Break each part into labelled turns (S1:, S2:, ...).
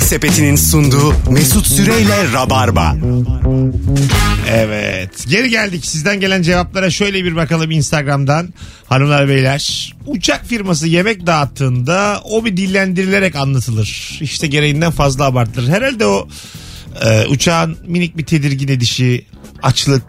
S1: Sepeti'nin sunduğu Mesut Süreyle Rabarba.
S2: Evet. Geri geldik. Sizden gelen cevaplara şöyle bir bakalım Instagram'dan. Hanımlar beyler. Uçak firması yemek dağıttığında o bir dillendirilerek anlatılır. İşte gereğinden fazla abartılır. Herhalde o e, uçağın minik bir tedirgin edişi, açlık.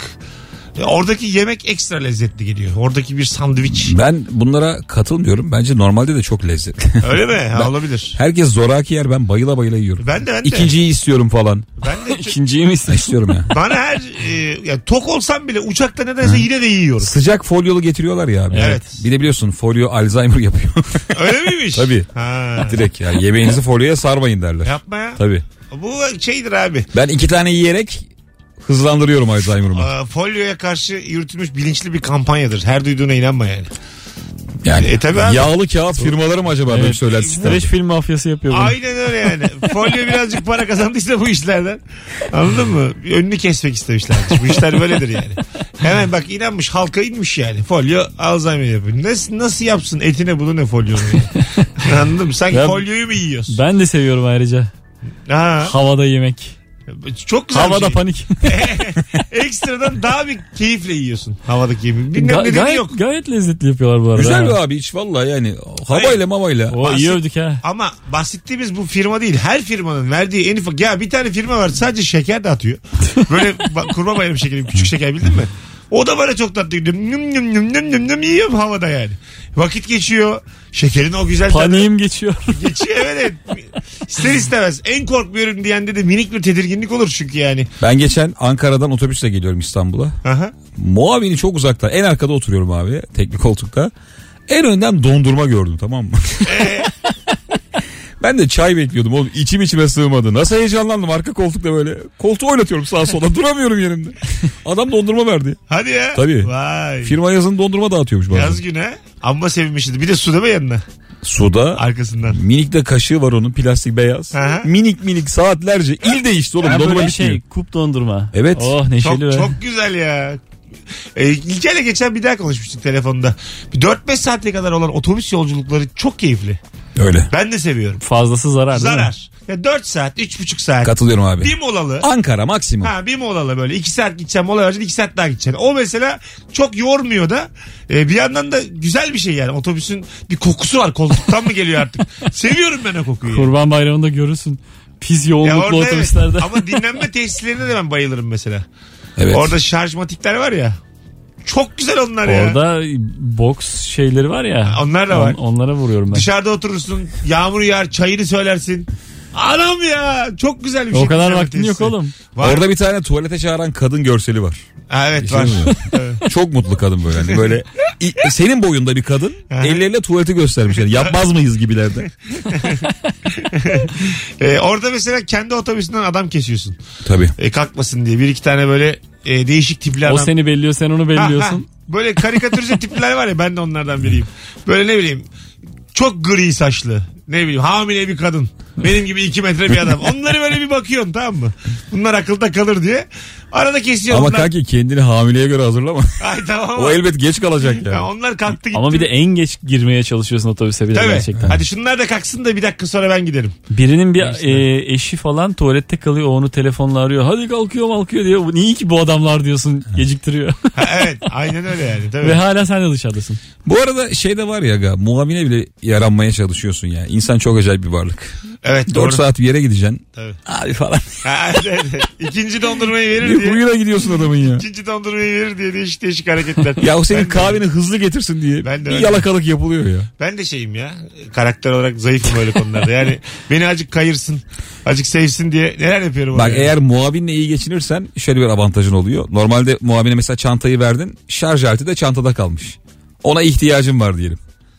S2: E, oradaki yemek ekstra lezzetli geliyor. Oradaki bir sandviç.
S3: Ben bunlara katılmıyorum. Bence normalde de çok lezzetli.
S2: Öyle mi? Ha, olabilir.
S3: Herkes zoraki yer ben bayıla bayıla yiyorum.
S2: Ben de ben de.
S3: İkinciyi istiyorum falan.
S2: Ben de
S4: İkinciyi mi istiyorsun?
S3: İstiyorum ya.
S2: bana her e, ya tok olsam bile uçakta nedense yine de yiyorum.
S3: Sıcak folyolu getiriyorlar ya abi.
S2: Evet.
S3: Bir de biliyorsun folyo Alzheimer yapıyor.
S2: Öyle miymiş?
S3: Tabii.
S2: Ha.
S3: Direkt yani yemeğinizi folyoya sarmayın derler.
S2: Yapma ya.
S3: Tabii.
S2: Bu şeydir abi.
S3: Ben iki tane yiyerek hızlandırıyorum Alzheimer'ımı.
S2: Aa, Ee, Folyoya karşı yürütülmüş bilinçli bir kampanyadır. Her duyduğuna inanma yani.
S3: Yani
S2: E, tabii abi.
S3: yağlı kağıt firmaları mı acaba böyle
S4: Evet.
S3: söyler sistemde?
S4: Streç film mafyası yapıyor bunu.
S2: Aynen öyle yani. Folyo birazcık para kazandıysa bu işlerden. Anladın mı? Önünü kesmek istemişlerdir. Bu işler böyledir yani. Hemen bak inanmış halka inmiş yani. Folyo Alzheimer yapıyor. Nasıl, nasıl yapsın etine bunu ne folyonu yani. Anladın mı? Sanki
S4: Ya-
S2: folyoyu mu yiyorsun?
S4: Ben de seviyorum ayrıca.
S2: Ha,
S4: Havada yemek.
S2: çok güzel bir
S4: Havada
S2: şey.
S4: panik.
S2: Ekstradan daha bir keyifle yiyorsun havadaki yemeği. Bilmem
S4: Ga-
S2: nedeni
S4: gayet,
S2: yok.
S4: gayet lezzetli yapıyorlar bu arada.
S3: Güzel
S4: ha.
S3: bir abi hiç vallahi yani
S2: Hayır.
S3: havayla mamayla.
S4: O iyi
S2: Bahset-
S4: övdük ha.
S2: Ama bahsettiğimiz bu firma değil. Her firmanın verdiği en ufak. Ya bir tane firma var sadece şeker dağıtıyor. Böyle ba- kurma bayramı şekeri küçük şeker bildin mi? O da bana çok tatlı. Nüm nüm nüm nüm nüm nüm nüm yiyorum havada yani. Vakit geçiyor. Şekerin o güzel tadı
S4: Paniğim geçiyor.
S2: geçiyor evet. İster istemez. En korkmuyorum diyende de minik bir tedirginlik olur çünkü yani.
S3: Ben geçen Ankara'dan otobüsle geliyorum İstanbul'a.
S2: Aha.
S3: Muavini çok uzakta. En arkada oturuyorum abi. Teknik koltukta. En önden dondurma gördüm tamam mı?
S2: Ee?
S3: ben de çay bekliyordum oğlum. İçim içime sığmadı. Nasıl heyecanlandım arka koltukta böyle. Koltuğu oynatıyorum sağa sola. Duramıyorum yerimde. Adam dondurma verdi.
S2: Hadi ya.
S3: Tabii.
S2: Vay.
S3: Firma yazın dondurma dağıtıyormuş bazen.
S2: Yaz güne amma sevinmişti. Bir de su deme yanına
S3: Suda
S2: arkasından.
S3: minik de kaşığı var onun plastik beyaz.
S2: Aha.
S3: Minik minik saatlerce il değişti oğlum
S4: Ha,
S3: dondurma
S4: böyle
S3: bitmiyor.
S4: şey kup dondurma.
S3: Evet.
S4: Oh
S2: Çok,
S4: neşeli be.
S2: çok güzel ya. E, İlker'le geçen bir daha konuşmuştuk telefonda. 4-5 saate kadar olan otobüs yolculukları çok keyifli.
S3: Öyle.
S2: Ben de seviyorum.
S4: Fazlası zarar değil mi?
S2: Zarar. Ya 4 saat, 3,5 saat.
S3: Katılıyorum abi.
S2: bir molalı.
S3: Ankara maksimum.
S2: Ha bir molalı böyle. 2 saat gideceğim mola vereceksin 2 saat daha gideceksin. O mesela çok yormuyor da e, bir yandan da güzel bir şey yani. Otobüsün bir kokusu var. Koltuktan mı geliyor artık? Seviyorum ben o kokuyu.
S4: Kurban bayramında görürsün. Pis
S2: Ya
S4: yoğunluklu
S2: orada evet.
S4: otobüslerde.
S2: Ama dinlenme tesislerine de ben bayılırım mesela.
S3: Evet.
S2: Orada şarjmatikler var ya. Çok güzel onlar ya.
S4: Orada boks şeyleri var ya.
S2: Onlar da var.
S4: onlara vuruyorum ben.
S2: Dışarıda oturursun. Yağmur yağar. Çayını söylersin. Anam ya. Çok güzel bir şey.
S4: o kadar
S2: Güzel bir
S4: vaktin yok
S2: tesisi.
S4: oğlum.
S2: Var.
S3: Orada bir tane tuvalete çağıran kadın görseli var.
S2: Ha, evet
S3: Şey
S2: var.
S3: mi? Çok mutlu kadın böyle. Hani böyle i- senin boyunda bir kadın
S2: Aha.
S3: elleriyle tuvaleti göstermiş. Yani yapmaz mıyız gibilerde.
S2: Ee, orada mesela kendi otobüsünden adam kesiyorsun.
S3: Tabii.
S2: Ee, kalkmasın diye. Bir iki tane böyle e, değişik tipli adam.
S4: O seni belliyor sen onu
S2: Ha, ha.
S4: belliyorsun.
S2: Böyle karikatürize tipler var ya ben de onlardan biriyim. Böyle ne bileyim çok gri saçlı. Ne bileyim hamile bir kadın. Benim gibi iki metre bir adam. Onları böyle bir bakıyorsun tamam mı? Bunlar akılda kalır diye. Arada kesiyorsun.
S3: Ama
S2: Onlar-
S3: kanki kendini hamileye göre hazırlama.
S2: Ay tamam.
S3: o elbet geç kalacak
S2: Ya
S3: yani.
S2: onlar kalktı gitti.
S4: Ama bir de en geç girmeye çalışıyorsun otobüse bir de
S2: Tabii.
S4: gerçekten.
S2: Hadi şunlar da kalksın da bir dakika sonra ben giderim.
S4: Birinin bir e, eşi falan tuvalette kalıyor onu telefonla arıyor. Hadi kalkıyor kalkıyor diyor. Bu- İyi ki bu adamlar diyorsun geciktiriyor.
S2: Ha, evet aynen öyle yani.
S4: Ve
S2: Tabii.
S4: hala sen de dışarıdasın.
S3: Bu arada şey de var ya ga, muavine bile yaranmaya çalışıyorsun ya. İnsan çok acayip bir varlık.
S2: Evet
S3: 4
S2: doğru.
S3: saat bir yere gideceksin.
S2: Tabii.
S3: Abi falan.
S2: Ha, evet, evet. İkinci dondurmayı verir
S3: Bir
S2: diye.
S3: huyuna gidiyorsun adamın ya.
S2: İkinci dondurmayı verir diye değişik değişik hareketler.
S3: Ya o senin
S2: ben, de-
S3: kahveni hızlı getirsin diye
S2: Ben de
S3: bir
S2: öyle.
S3: yalakalık yapılıyor ya.
S2: ben de şeyim ya. Karakter olarak zayıfım öyle konularda. Yani beni acık kayırsın. Acık sevsin diye neler yapıyorum.
S3: Bak
S2: orada.
S3: eğer muavinle iyi geçinirsen şöyle bir avantajın oluyor. Normalde muavine mesela çantayı verdin şarj aleti de çantada kalmış. Ona ihtiyacın var diyelim.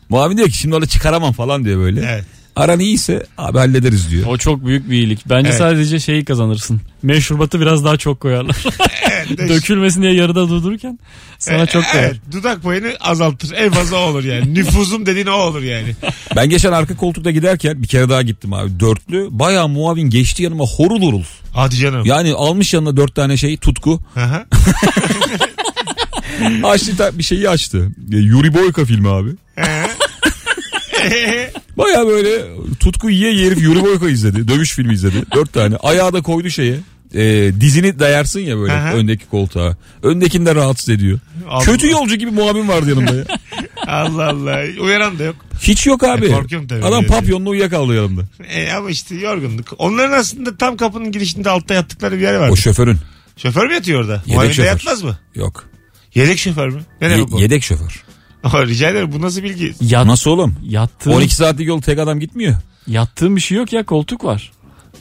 S3: Muavin diyor ki şimdi onu çıkaramam falan diyor böyle.
S2: Evet.
S3: Aran iyiyse abi hallederiz diyor.
S4: O çok büyük bir iyilik. Bence
S2: Evet.
S4: sadece şeyi kazanırsın. Meşrubatı biraz daha çok koyarlar. Dökülmesin diye yarıda durdururken sana çok
S2: Evet,
S4: koyar.
S2: dudak payını azaltır. En fazla o olur yani. Nüfuzum dediğin o olur yani.
S3: Ben geçen arka koltukta giderken bir kere daha gittim abi dörtlü. Bayağı muavin geçti yanıma horul horul.
S2: Hadi canım.
S3: Yani almış yanına dört tane şey tutku.
S2: Aha.
S3: Açtı ta- bir şeyi açtı. E, Yuri Boyka filmi abi. Bayağı böyle Tutku yiye yiye herif Yuri Boyko izledi. Dövüş filmi izledi. Dört tane. Ayağı da koydu şeye. E, dizini dayarsın ya böyle
S2: Aha.
S3: öndeki koltuğa. Öndekini de rahatsız ediyor.
S2: Allah.
S3: Kötü yolcu gibi muavin vardı yanımda ya.
S2: Allah Allah. Uyaran da yok.
S3: Hiç yok abi.
S2: E, korkuyorum tabii
S3: Adam
S2: öyle.
S3: papyonla uyuyakaldı yanımda.
S2: E, ama işte yorgunluk. Onların aslında tam kapının girişinde altta yattıkları bir yer var.
S3: O şoförün.
S2: Şoför mü yatıyor orada?
S3: Yedek
S2: Muavin de
S3: şoför.
S2: yatmaz mı?
S3: Yok.
S2: Yedek şoför mü? Ne
S3: Ye-
S2: demek bu?
S3: yedek şoför.
S2: Rica ederim bu nasıl bilgi?
S4: Yat,
S3: Nasıl oğlum?
S4: yattığım,
S3: 12 saatlik yol tek adam gitmiyor.
S4: yattığım bir şey yok ya koltuk var.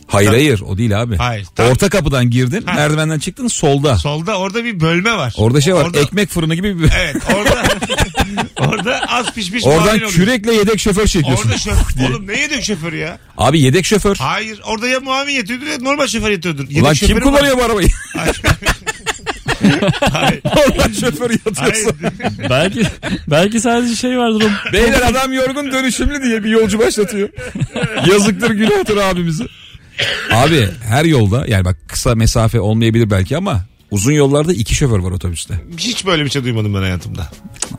S3: Hayır hayır o değil abi.
S2: Hayır, tamam.
S3: Orta kapıdan girdin,
S2: Ha.
S3: merdivenden çıktın solda.
S2: Solda orada bir bölme var.
S3: Orada şey var.
S2: Orada- E,
S3: Ekmek fırını gibi bir
S2: Evet orada orada az pişmiş
S3: Oradan
S2: muavin oluyor.
S3: kürekle yedek şoför çekiyorsun.
S2: Orada şoför. Oğlum ne yedek şoförü ya?
S3: Abi yedek şoför.
S2: Hayır orada ya muavin yatıyordur ya normal şoför yatıyordur. Yedek
S3: Ulan
S2: şoförü var.
S3: kim kullanıyor bu arabayı?
S2: Hayır.
S3: Oradan şoför
S2: Hayır.
S3: yatıyorsun.
S4: belki belki sadece şey vardır o
S3: Beyler adam yorgun dönüşümlü diye bir yolcu başlatıyor. Yazıktır günahtır abimizi. Abi her yolda yani bak kısa mesafe olmayabilir belki ama uzun yollarda iki şoför var otobüste.
S2: Hiç böyle bir şey duymadım ben hayatımda.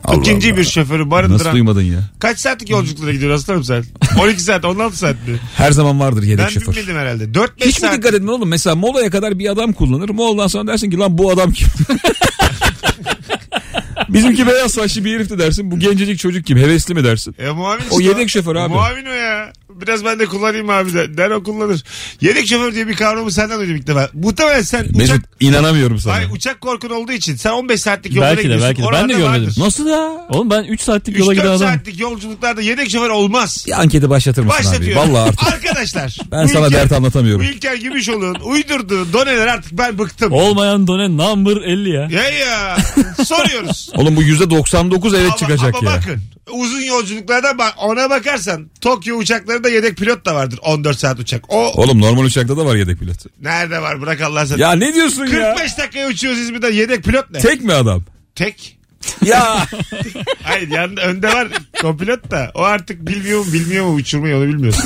S3: Allah
S2: İkinci
S3: Allah.
S2: bir şoförü
S3: Nasıl
S2: barındıran.
S3: duymadın ya?
S2: Kaç saatlik yolculuklara gidiyor aslanım sen? 12 saat 16 saat mi?
S3: Her zaman vardır yedek
S2: Ben
S3: şoför.
S2: bilmedim herhalde. 4-5
S3: Hiç mi
S2: saat.
S3: dikkat edin oğlum? Mesela molaya kadar bir adam kullanır. Moladan sonra dersin ki lan bu adam kim? Bizimki beyaz saçlı bir herifti dersin. Bu gencecik çocuk kim? Hevesli mi dersin?
S2: E, muavin
S3: O
S2: işte
S3: yedek şoför abi.
S2: Muavin o ya. Biraz ben de kullanayım abi de. Der o kullanır. Yedek şoför diye bir kavramı senden duydum ilk defa. Muhtemelen sen uçak,
S3: Mesut inanamıyorum sana.
S2: ay, uçak korkun olduğu için sen 15 saatlik yollara
S4: Belki de
S2: gidiyorsun.
S4: belki de. Ben de
S2: Oralarda
S4: görmedim.
S2: vardır.
S4: Nasıl ya? Oğlum ben 3 saatlik yola giden
S2: 3-4
S4: adam.
S2: saatlik yolculuklarda yedek şoför olmaz.
S3: Bir anketi başlatır mısın abi?
S2: Başlatıyor.
S3: Vallahi artık
S2: Arkadaşlar.
S3: ben sana
S2: Ülker-
S3: dert anlatamıyorum.
S2: Ülker Gümüşoğlu'nun uydurduğu doneler artık ben bıktım.
S4: Olmayan done number 50 ya.
S2: Ya ya. Soruyoruz.
S3: Oğlum bu %99 evet
S2: Ama-
S3: çıkacak
S2: ama
S3: ya.
S2: bakın uzun yolculuklarda bak ona bakarsan Tokyo uçaklarında yedek pilot da vardır 14 saat uçak. O
S3: Oğlum normal uçakta da var yedek pilot.
S2: nerede var bırak Allah sen.
S3: Ya ne diyorsun ya?
S2: 45 dakikaya uçuyoruz İzmir'den yedek pilot ne? Tek.
S3: Tek mi adam? Ya
S2: Hayır yanında önde var kopilot da o artık bilmiyor mu bilmiyor mu uçurmayı onu bilmiyorsun.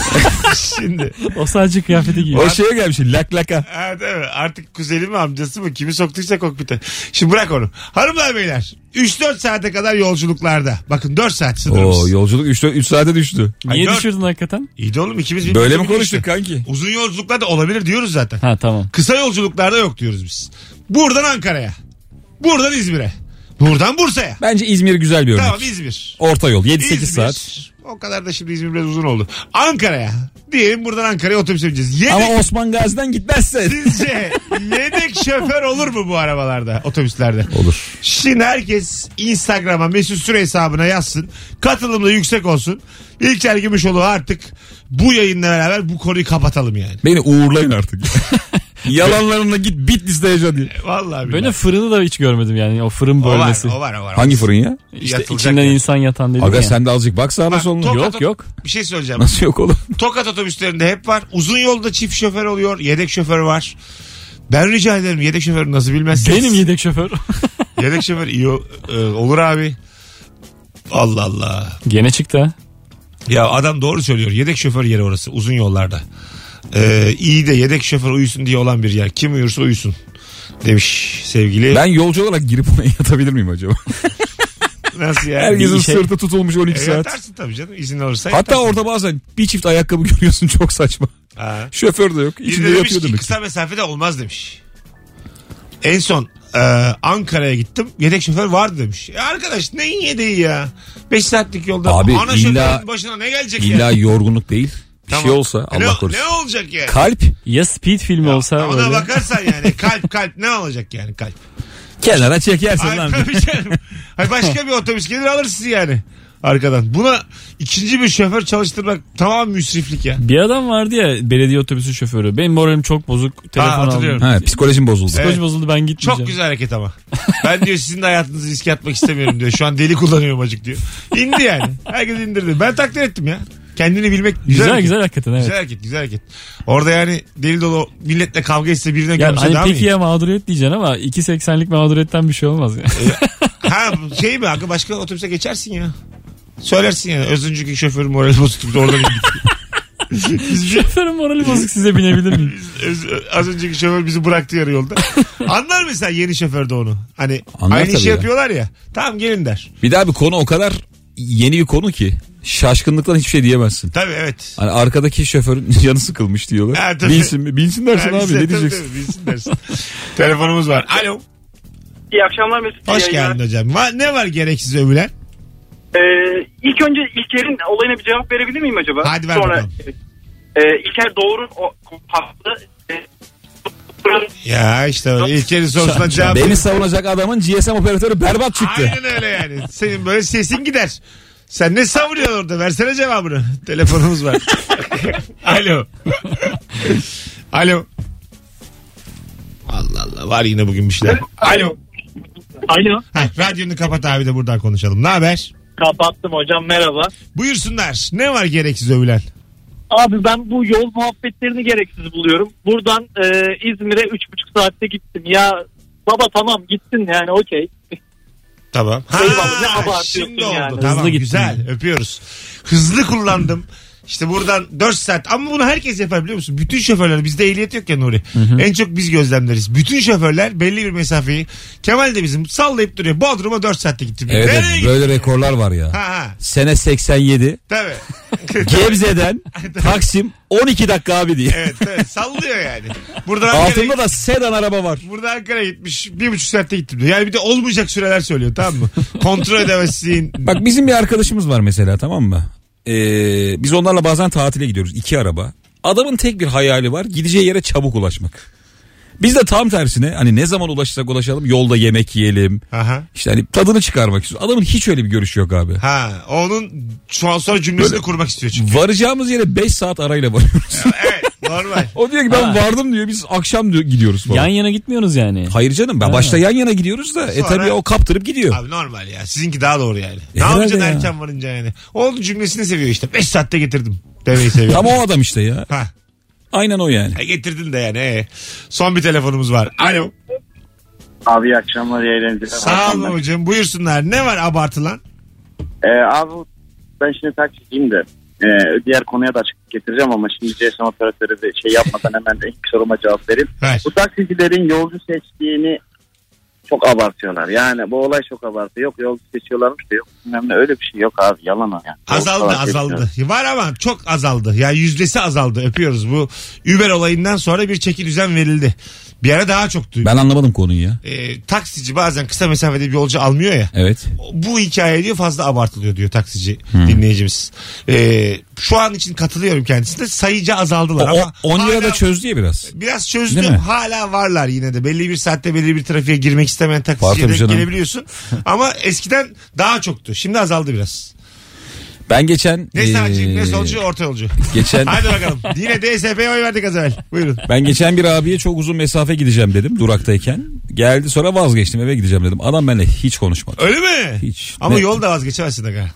S2: Şimdi
S4: O sadece kıyafeti giyiyor.
S3: o şeye gelmiş lak laka.
S2: evet, evet, artık kuzeni mi amcası mı kimi soktuysa kokpite. Şimdi bırak onu. Hanımlar beyler 3-4 saate kadar yolculuklarda. Bakın 4 saat sınırımız.
S3: Oo yolculuk 3, 3 saate düştü.
S4: Niye
S2: Ay, dört-
S4: düşürdün hakikaten?
S2: İyi de oğlum ikimiz
S3: Böyle mi
S2: birbirimizi
S3: konuştuk
S2: bilmiştik.
S3: kanki?
S2: Uzun yolculuklarda olabilir diyoruz zaten.
S4: Ha tamam.
S2: Kısa yolculuklarda yok diyoruz biz. Buradan Ankara'ya. Buradan İzmir'e. Buradan Bursa'ya.
S3: Bence İzmir güzel bir örnek.
S2: Tamam İzmir.
S3: Orta yol 7-8
S2: İzmir.
S3: saat.
S2: O kadar da şimdi İzmir biraz uzun oldu. Ankara'ya. Diyelim buradan Ankara'ya otobüse bineceğiz. Yedek,
S3: Ama Osman Gazi'den gitmezse.
S2: sizce yedek şoför olur mu bu arabalarda, otobüslerde?
S3: Olur.
S2: Şimdi herkes Instagram'a Mesut Süre hesabına yazsın. Katılım da yüksek olsun. İlker Gümüşoğlu artık bu yayınla beraber bu konuyu kapatalım yani.
S3: Beni uğurlayın artık. Yalanlarınla git bit listeye diye.
S2: Vallahi billahi.
S4: Böyle fırını da hiç görmedim yani o fırın
S2: o var,
S4: bölmesi.
S2: o var, o var.
S3: Hangi fırın ya?
S4: İşte
S2: Yatılacak
S4: içinden
S2: yer.
S4: insan yatan dedim
S3: Aga
S4: ya.
S3: sen de azıcık bak sağına
S2: Bak,
S3: soluna.
S2: top-
S3: Yok.
S4: Yok yok.
S2: Bir şey söyleyeceğim.
S3: Nasıl yok oğlum?
S2: Tokat otobüslerinde hep var. Uzun yolda çift şoför oluyor. Yedek şoför var. Ben rica ederim yedek şoförü nasıl bilmezsiniz.
S4: Benim yedek şoför.
S2: Yedek şoför iyi o- e, olur abi. Allah Allah.
S4: Gene çıktı ha.
S2: Ya adam doğru söylüyor. Yedek şoför yeri orası uzun yollarda. Ee, iyi de yedek şoför uyusun diye olan bir yer. Kim uyursa uyusun demiş sevgili.
S3: Ben yolcu olarak girip ona yatabilir miyim acaba?
S2: Nasıl yani?
S3: Herkesin
S2: Bir işe-
S3: sırtı tutulmuş 12
S2: E,
S3: saat.
S2: Yatarsın tabii canım izin olursa.
S3: Hatta
S2: yatarsın.
S3: orada bazen bir çift ayakkabı görüyorsun çok saçma.
S2: Ha.
S3: Şoför de yok.
S2: Biri
S3: İçinde
S2: de demiş
S3: yatıyor
S2: ki
S3: demek. ki.
S2: kısa mesafede olmaz demiş. En son e, Ankara'ya gittim. Yedek şoför vardı demiş. E arkadaş neyin yedeği ya? 5 saatlik yolda
S3: Abi
S2: ana
S3: illa-
S2: şoförün başına ne gelecek
S3: İlla
S2: ya?
S3: yorgunluk değil. Bir
S2: Tamam.
S3: şey olsa
S2: ne,
S3: Allah korusun.
S2: Ne olacak yani?
S3: Kalp
S4: Ya speed filmi olsa
S2: Ona
S4: böyle.
S2: bakarsan yani kalp kalp ne olacak yani kalp?
S3: kenara çekersin
S2: Ay,
S3: lan.
S2: tabii canım. Ay, başka bir otobüs gelir alır sizi yani arkadan. Buna ikinci bir şoför çalıştırmak tamam müsriflik ya.
S4: Bir adam vardı ya belediye otobüsü şoförü. Benim moralim çok bozuk. Telefon
S2: hatırlıyorum.
S4: aldım.
S3: Ha, psikolojim bozuldu.
S4: Psikoloji
S2: Evet.
S4: bozuldu ben gitmeyeceğim.
S2: Çok güzel hareket ama. Ben diyor sizin de hayatınızı riske atmak istemiyorum diyor. Şu an deli kullanıyorum acık diyor. İndi yani. Herkes indirdi. Ben takdir ettim ya. Kendini bilmek güzel.
S4: Güzel güzel,
S2: hareket.
S4: hakikaten evet.
S2: Güzel hareket, güzel hareket. Orada yani deli dolu milletle kavga etse birine
S4: Yani
S2: görse daha
S4: hani
S2: mı
S4: peki
S2: iyi?
S4: ya mağduriyet diyeceksin ama 2.80'lik mağduriyetten bir şey olmaz ya.
S2: Ha şey mi hakkı başka otobüse geçersin ya. Söylersin yani az önceki şoför morali bozuktu da oradan indik. Biz bir-
S4: Şoförün morali bozuk size binebilir miyim?
S2: biz- öz- az önceki şoför bizi bıraktı yarı yolda. Anlar mesela yeni şoför de onu. Hani
S3: Anlar
S2: aynı işi
S3: tabii ya.
S2: yapıyorlar ya. Tamam gelin der.
S3: Bir daha bir konu o kadar yeni bir konu ki şaşkınlıktan hiçbir şey diyemezsin.
S2: Tabii evet.
S3: Hani arkadaki şoförün canı sıkılmış diyorlar.
S2: Ha, tabii.
S3: Bilsin mi? Bilsin dersin
S2: Abi
S3: abi
S2: sen-
S3: ne diyeceksin?
S2: tabii, bilsin dersin. Telefonumuz var. Alo.
S5: İyi akşamlar Mesut. Bey,
S2: Hoş
S5: yayınlar.
S2: geldin hocam. Va- ne var gereksiz övülen?
S5: Ee, ilk önce İlker'in olayına bir cevap verebilir miyim acaba?
S2: Hadi ver bakalım.
S5: E, İlker Doğru'nun o haklı. E,
S2: Ya işte öyle. İlker'in sorusuna cevap.
S3: Beni savunacak adamın GSM operatörü berbat çıktı.
S2: Aynen öyle yani. Senin böyle sesin gider. Sen ne savuruyorsun orada? Versene cevabını. Telefonumuz var. Alo. Alo. Allah Allah var yine bugün bir şeyler. Alo.
S5: Alo.
S2: Ha, radyonu kapat abi de buradan konuşalım. Ne haber?
S5: Kapattım hocam merhaba.
S2: Buyursunlar. Ne var gereksiz övülen?
S5: Abi ben bu yol muhabbetlerini gereksiz buluyorum. Buradan e, İzmir'e 3,5 saatte gittim. Ya baba tamam gittin yani okey.
S2: Tamam. Ha,
S5: Eyvallah, ne abartıyorsun
S2: şimdi oldu.
S5: yani.
S2: Tamam,
S4: Hızlı gittin.
S2: güzel. Öpüyoruz. Hızlı kullandım. İşte buradan 4 saat ama bunu herkes yapar biliyor musun? Bütün şoförler bizde ehliyet yok ya Nuri. En çok biz gözlemleriz. Bütün şoförler belli bir mesafeyi Kemal de bizim sallayıp duruyor. Bodrum'a 4 saatte gittim. diyor.
S3: Evet,
S2: Nereye
S3: evet
S2: gittin?
S3: böyle rekorlar var ya.
S2: Ha ha.
S3: Sene 87
S2: Tabii.
S3: Gebze'den Taksim 12 dakika abi diye.
S2: Evet, evet. Sallıyor yani. Buradan Ankara'ya
S3: Altında da sedan araba var.
S2: Burada Ankara'ya gitmiş. Bir buçuk saatte gittim diyor. Yani bir de olmayacak süreler söylüyor tamam mı? Kontrol edemezsin.
S3: Bak bizim bir arkadaşımız var mesela tamam mı? Ee, biz onlarla bazen tatile gidiyoruz. iki araba. Adamın tek bir hayali var. Gideceği yere çabuk ulaşmak. Biz de tam tersine hani ne zaman ulaşırsak ulaşalım yolda yemek yiyelim.
S2: Aha.
S3: İşte hani tadını çıkarmak istiyoruz. Adamın hiç öyle bir görüşü yok abi.
S2: Ha, onun şu an sonra cümlesini
S3: Böyle-
S2: kurmak istiyor çünkü.
S3: Varacağımız yere 5 saat arayla varıyoruz.
S2: Evet, normal.
S3: o diyor ki ben
S4: Ha.
S3: vardım diyor biz akşam diyor, gidiyoruz falan.
S4: Yan yana gitmiyoruz yani.
S3: Hayır canım ben
S4: Ha.
S3: başta yan yana gidiyoruz da e
S2: Sonra-
S3: tabii o kaptırıp gidiyor.
S2: Abi normal ya. Sizinki daha doğru yani. Ne
S3: E, herhalde
S2: yapacaksın
S3: ya.
S2: erken varınca yani. Oldu cümlesini seviyor işte. 5 saatte getirdim demeyi seviyor.
S3: Ama o adam işte ya.
S2: Ha,
S3: Aynen o yani.
S2: e, getirdin de yani. e. Son bir telefonumuz var. Alo.
S6: Abi iyi akşamlar iyi eğlenceler.
S2: Sağ olun hocam. Buyursunlar. Ne var abartılan?
S6: Ee, abi ben şimdi taksiciyim de ee, diğer konuya da açıklık getireceğim ama şimdi GSM operatörü de şey yapmadan hemen de ilk soruma cevap vereyim.
S2: Ver.
S6: Bu taksicilerin yolcu seçtiğini çok abartıyorlar. Yani bu olay çok abartı. Yok yolcu seçiyorlarmış da yok. Bilmem ne öyle bir şey yok abi. Yalan o yani.
S2: Azaldı
S6: Yolcu falan
S2: azaldı.
S6: seçmiyor.
S2: Var ama çok azaldı. Ya yüzdesi azaldı. Öpüyoruz bu Uber olayından sonra bir çeki düzen verildi. Bir ara daha çoktu.
S3: Ben anlamadım konuyu ya.
S2: E, taksici bazen kısa mesafede bir yolcu almıyor ya.
S3: Evet.
S2: bu hikaye diyor fazla abartılıyor diyor taksici
S3: Hmm.
S2: dinleyicimiz. Ee, şu an için katılıyorum kendisine. Sayıca azaldılar
S3: O-
S2: ama
S3: o- 10 lira
S2: hala-
S3: da çözdü ya biraz.
S2: Biraz
S3: Değil
S2: çözdüm
S3: mi?
S2: hala varlar yine de. Belli bir saatte belli bir trafiğe girmek istemeyen
S3: Var tabii
S2: taksiciye denk
S3: canım.
S2: gelebiliyorsun. ama eskiden daha çoktu. Şimdi azaldı biraz.
S3: Ben geçen
S2: Ne sağcıyım ne
S3: eee,
S2: solcu orta yolcu.
S3: geçen
S2: Hadi bakalım. Yine DSP'ye oy verdik az evvel. Buyurun.
S3: ben geçen bir abiye çok uzun mesafe gideceğim dedim duraktayken. Geldi sonra vazgeçtim eve gideceğim dedim. Adam benimle hiç konuşmadı.
S2: Öyle mi?
S3: Hiç.
S2: Ama
S3: Ne-
S2: yol da vazgeçemezsin aga.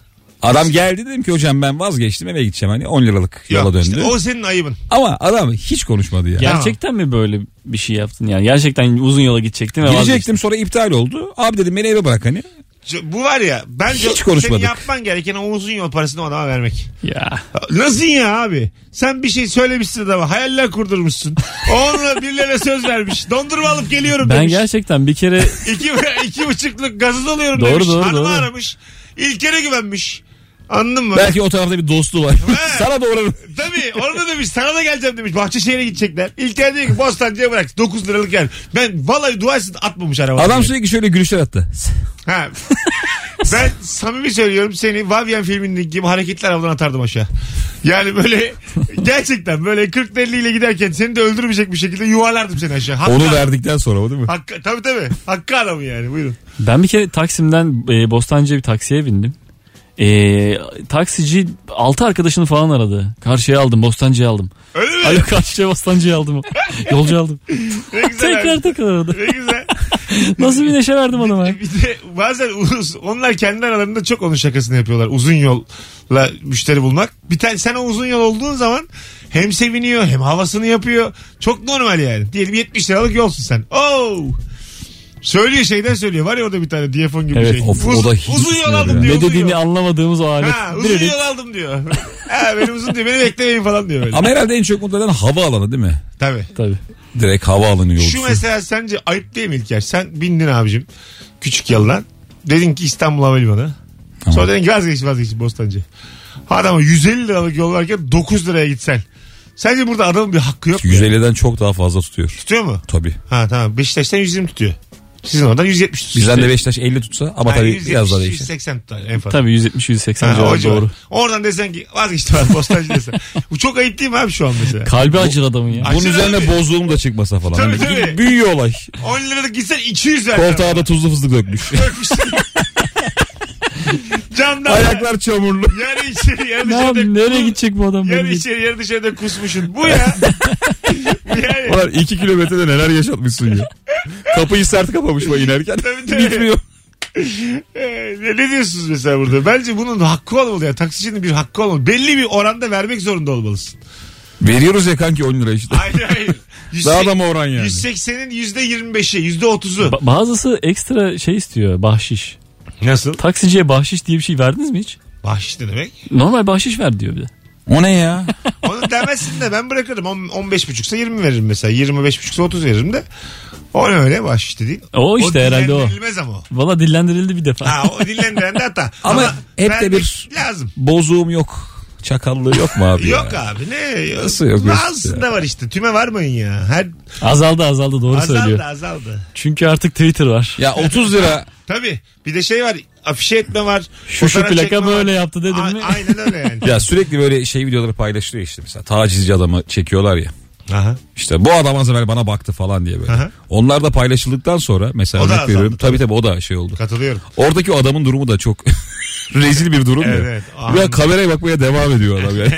S3: Adam geldi dedim ki hocam ben vazgeçtim eve gideceğim hani 10 liralık yola
S2: Yok,
S3: döndü.
S2: işte o senin ayıbın.
S3: Ama adam hiç konuşmadı ya.
S4: Gerçekten mi böyle bir şey yaptın yani? Gerçekten uzun yola gidecektin ve vazgeçtin.
S3: Gidecektim sonra iptal oldu. Abi dedim beni eve bırak hani.
S2: C- Bu var ya bence
S3: Hiç konuşmadık.
S2: senin yapman gereken o uzun yol parasını o adama vermek.
S4: Ya.
S2: Nasıl ya abi? Sen bir şey söylemişsin adama. Hayaller kurdurmuşsun. Onunla birilerine söz vermiş. Dondurma alıp geliyorum
S4: Ben
S2: demiş.
S4: gerçekten bir kere
S2: İki, iki buçukluk gazoz alıyorum
S4: Doğru,
S2: demiş.
S4: doğru,
S2: Hanımı
S4: doğru.
S2: aramış. İlker'e güvenmiş. Anladın mı?
S3: Belki o tarafta bir dostu var. Sana da uğrarım.
S2: Tabii orada demiş sana da geleceğim demiş. Bahçeşehir'e gidecekler. İlker diyor ki Bostancı'ya bırak. 9 liralık gel. Ben vallahi dua etsin atmamış arabadan.
S3: Adam sürekli şöyle gülüşler attı.
S2: Ha. Ben samimi söylüyorum seni Vavyen filmindeki gibi hareketler avlan atardım aşağı. Yani böyle gerçekten böyle 40 50 ile giderken seni de öldürmeyecek bir şekilde yuvarlardım seni aşağı. Hakkı,
S3: Onu verdikten sonra o değil mi?
S2: hakkı, tabii tabii. Hakkı adamı yani buyurun.
S4: Ben bir kere Taksim'den e, Bostancı'ya bir taksiye bindim. E, taksici 6 arkadaşını falan aradı. Karşıya aldım, Bostancı'ya aldım.
S2: Öyle mi?
S4: Ay yok, karşıya Bostancı'ya aldım. Yolcu aldım.
S2: ne güzel. abi.
S4: tekrar tekrar aradı.
S2: Ne güzel.
S4: Nasıl bir neşe verdim adama. ya.
S2: Bir de bazen uz- onlar kendi aralarında çok onun şakasını yapıyorlar. Uzun yolla müşteri bulmak. Bir tane sen o uzun yol olduğun zaman hem seviniyor hem havasını yapıyor. Çok normal yani. Diyelim 70 liralık yolsun sen. Oo! Söylüyor şeyden söylüyor. Var ya orada bir tane diyafon gibi
S4: Evet,
S2: şey.
S3: of, o
S2: Uz-
S3: da hiç
S2: uzun yol
S3: ısınıyor
S2: aldım
S3: ya.
S2: diyor.
S4: Ne
S2: uzun
S4: dediğini
S2: yol.
S4: anlamadığımız o alet.
S2: Ha,
S4: Bir
S2: uzun
S4: adet-
S2: yol aldım diyor. ha, benim uzun diyor. Beni beklemeyin falan diyor böyle.
S3: Ama herhalde en çok mutlu eden hava alanı değil mi?
S2: Tabii.
S4: Tabii.
S3: Direkt hava alanı yolcusu.
S2: Şu mesela sence ayıp değil mi İlker? Sen bindin abicim. Küçük yıldan. Dedin ki İstanbul Havalimanı. Sonra dedin ki vazgeç vazgeç Bostancı. Adama 150 liralık yol varken 9 liraya gitsen. Sence burada adamın bir hakkı yok mu?
S3: 150'den çok daha fazla tutuyor.
S2: Tutuyor mu?
S3: Tabii.
S2: Ha tamam. Beşiktaş'tan 120 tutuyor. Sizin oradan 170 tutuyor.
S3: Bizden de Beşiktaş 50 tutsa ama
S2: Ha,
S3: tabii
S2: 170,
S3: biraz daha değişir.
S2: 180 tutar en fazla.
S4: Tabii 170-180
S2: Ha, o
S4: civarı
S2: civar.
S4: doğru.
S2: Oradan desen ki vazgeçtim ben Bostancı desen. Bu çok ayıp değil mi abi şu an mesela?
S4: Kalbi acır adamın ya.
S2: Ay-
S3: Bunun
S2: Aşırı
S3: üzerine
S2: abi.
S3: bozluğum da çıkmasa falan.
S2: Tabii,
S3: Hani
S2: tabii.
S3: Büyüyor olay.
S2: 10 liralık gitsen 200 ver.
S3: Koltuğa da tuzlu fıstık dökmüş.
S2: Camdan.
S3: Ayaklar çamurlu.
S2: Yarı içeri yarı
S4: Ne yap-
S2: dışarıda.
S4: nereye gidecek bu adam?
S2: Yarı
S4: Böyle-
S2: içeri yarı dışarıda kusmuşsun. Bu ya. yani.
S3: Ulan iki kilometrede neler yaşatmışsın ya. Kapıyı sert kapamış bu inerken.
S2: Tabii, tabii.
S3: Bitmiyor.
S2: Ee, ne, ne diyorsunuz mesela burada? Bence bunun hakkı olmalı ya. Taksicinin bir hakkı olmalı. Belli bir oranda vermek zorunda olmalısın.
S3: Veriyoruz ya kanki 10 lira işte.
S2: Hayır hayır. Yüz
S3: Daha
S2: sek-
S3: da mı oran yani?
S2: 180'in %25'i, %30'u.
S4: Ba- bazısı ekstra şey istiyor bahşiş.
S2: Nasıl?
S4: Taksiciye bahşiş diye bir şey verdiniz mi hiç?
S2: Bahşiş ne demek?
S4: Normal bahşiş ver diyor bir de.
S3: O ne ya?
S2: Onu demezsin de ben bırakırım. 15 buçuksa 20 veririm mesela. 25 buçuksa 30 veririm de. O ne öyle bahşiş dediğin.
S4: O işte herhalde o.
S2: dinlendirilmez ama o.
S4: Valla dillendirildi bir defa.
S2: Ha o dinlendiren de hata.
S3: Ama hep de
S2: vermek
S3: bir-
S2: Lazım.
S3: Bozuğum yok. Çakallığı yok mu abi
S2: Yok
S3: ya?
S2: abi ne?
S3: Nasıl yok?
S2: Bazısında var işte. Tüme varmayın ya. Her
S4: Azaldı azaldı doğru söylüyor.
S2: azaldı azaldı.
S4: Çünkü artık Twitter var.
S3: Ya 30 lira
S2: Tabii. Bir de şey var. Afişe etme var.
S4: Şu şu
S2: fotoğraf çekme
S4: plaka
S2: var.
S4: böyle yaptı
S2: A-
S4: dedim mi?
S2: Aynen öyle yani.
S3: Ya sürekli böyle şey videoları paylaşılıyor işte mesela tacizci adamı çekiyorlar ya.
S2: Aha.
S3: İşte bu adam az evvel bana baktı falan diye böyle.
S2: Aha.
S3: Onlar da paylaşıldıktan sonra mesela
S2: O da
S3: örnek veriyorum.
S2: azaldı
S3: Tabii tabii o da şey oldu.
S2: Katılıyorum.
S3: Oradaki o adamın durumu da çok rezil bir durum
S2: Evet,
S3: ya.
S2: evet.
S3: Ya kameraya bakmaya devam ediyor adam yani.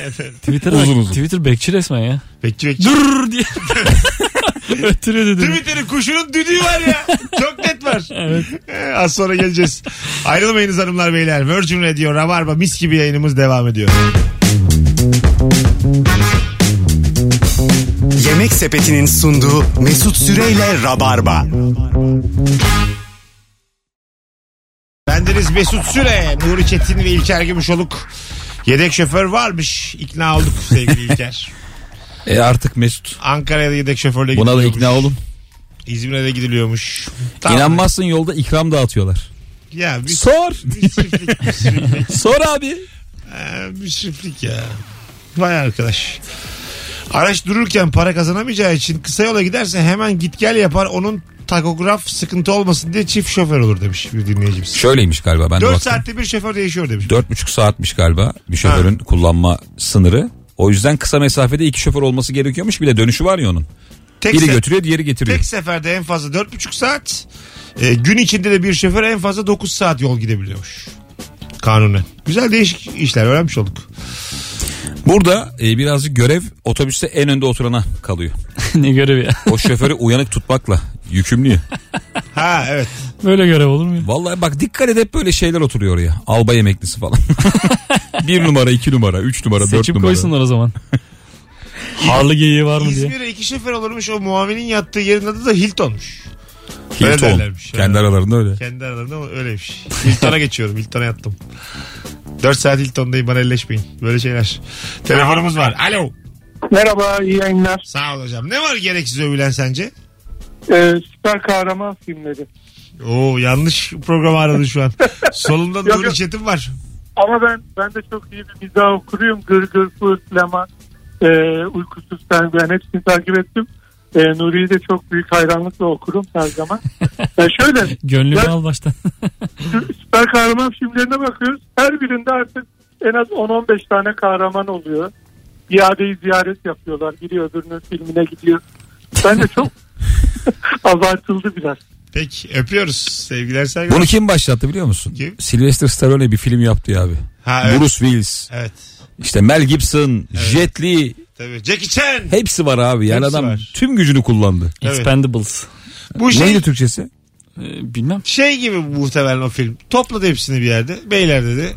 S4: Twitter,
S3: Uzun uzun.
S4: Twitter bekçi resmen ya.
S2: Bekçi bekçi.
S4: Dur diye. Ötürüyor dedim.
S2: Twitter'ın kuşunun düdüğü var ya. Çok net var. Ee, Az sonra geleceğiz. Ayrılmayınız hanımlar beyler. Virgin Radio Rabarba mis gibi yayınımız devam ediyor.
S1: Yemek Sepeti'nin sunduğu Mesut Süreyle Rabarba.
S2: Bendeniz Mesut Süre, Nuri Çetin ve İlker Gümüşoluk. Yedek şoför varmış. İkna olduk sevgili İlker.
S3: E artık Mesut.
S2: Ankara'ya da yedek şoförle
S3: Buna da
S2: gidiliyormuş.
S3: ikna olun.
S2: İzmir'e de gidiliyormuş.
S3: İnanmazsın yolda ikram dağıtıyorlar.
S2: Ya bir,
S3: Sor.
S2: bir çiftlik, bir çiftlik.
S3: Sor abi.
S2: Ee, bir çiftlik ya. Vay arkadaş. Araç dururken para kazanamayacağı için kısa yola giderse hemen git gel yapar. Onun takograf sıkıntı olmasın diye çift şoför olur demiş bir dinleyicimiz.
S3: Şöyleymiş galiba ben de
S2: 4
S3: baktım.
S2: saatte bir şoför değişiyor demiş.
S3: Dört buçuk saatmiş galiba bir şoförün kullanma sınırı. O yüzden kısa mesafede iki şoför olması gerekiyormuş. Bir de dönüşü var ya onun.
S2: Tek,
S3: Biri
S2: se-
S3: götürüyor diğeri getiriyor.
S2: tek seferde en fazla 4,5 saat. Ee, gün içinde de bir şoför en fazla 9 saat yol gidebiliyormuş. Kanunen. Güzel değişik işler öğrenmiş olduk.
S3: Burada e, birazcık görev otobüste en önde oturana kalıyor.
S4: ne görev ya.
S3: O şoförü uyanık tutmakla yükümlü. ya.
S2: Ha evet.
S4: Böyle görev olur mu ya?
S3: Vallahi bak dikkat et hep böyle şeyler oturuyor ya. Albay emeklisi falan. bir numara, iki numara, üç numara, dört
S4: Seçim
S3: numara.
S4: koysunlar o zaman. Harlı geyiği var mı diye.
S2: İzmir'e iki şoför olurmuş o muavinin yattığı yerin adı da Hilton'muş.
S3: Hilton.
S2: Öyle derlermiş.
S3: Kendi aralarında öyle.
S2: Kendi aralarında ama öyleymiş. Hilton'a geçiyorum. Hilton'a yattım. 4 saat Hilton'dayım bana elleşmeyin. Böyle şeyler. Telefonumuz var. Alo.
S7: Merhaba, iyi yayınlar.
S2: Sağ ol hocam. Ne var gereksiz övülen sence?
S7: Ee, süper kahraman filmleri.
S2: Oo yanlış programı aradın şu an. Solunda
S7: Yok,
S2: Nuri
S7: yok.
S2: Çetin var.
S7: Ama ben ben de çok iyi bir mizah okuruyum. Gır gır fırtlama, e, uykusuz sen ben hepsini takip ettim. E, Nuri'yi de çok büyük hayranlıkla okurum her zaman. Ya şöyle
S4: Gönlümü
S7: Ya-
S4: al baştan.
S7: sü- süper kahraman filmlerine bakıyoruz. Her birinde artık en az 10-15 tane kahraman oluyor. İadeyi ziyaret yapıyorlar. Biri öbürünün filmine gidiyor. Bence çok abartıldı biraz.
S2: Peki öpüyoruz. Sevgiler saygılar.
S3: Bunu kim başlattı biliyor musun?
S2: Kim?
S3: Sylvester Stallone bir film yaptı ya abi.
S2: Ha, evet.
S3: Bruce Willis,
S2: Evet.
S3: işte Mel Gibson, Jet Li
S2: Tabii. Jackie Chan.
S3: hepsi var abi. Yani
S2: Hepsi
S3: adam
S2: var.
S3: tüm gücünü kullandı.
S2: Evet.
S4: Expendables.
S2: Bu şey
S3: Neydi Türkçesi?
S4: Ee, bilmem.
S2: şey gibi muhtemelen o film. Topladı hepsini bir yerde. Beyler dedi.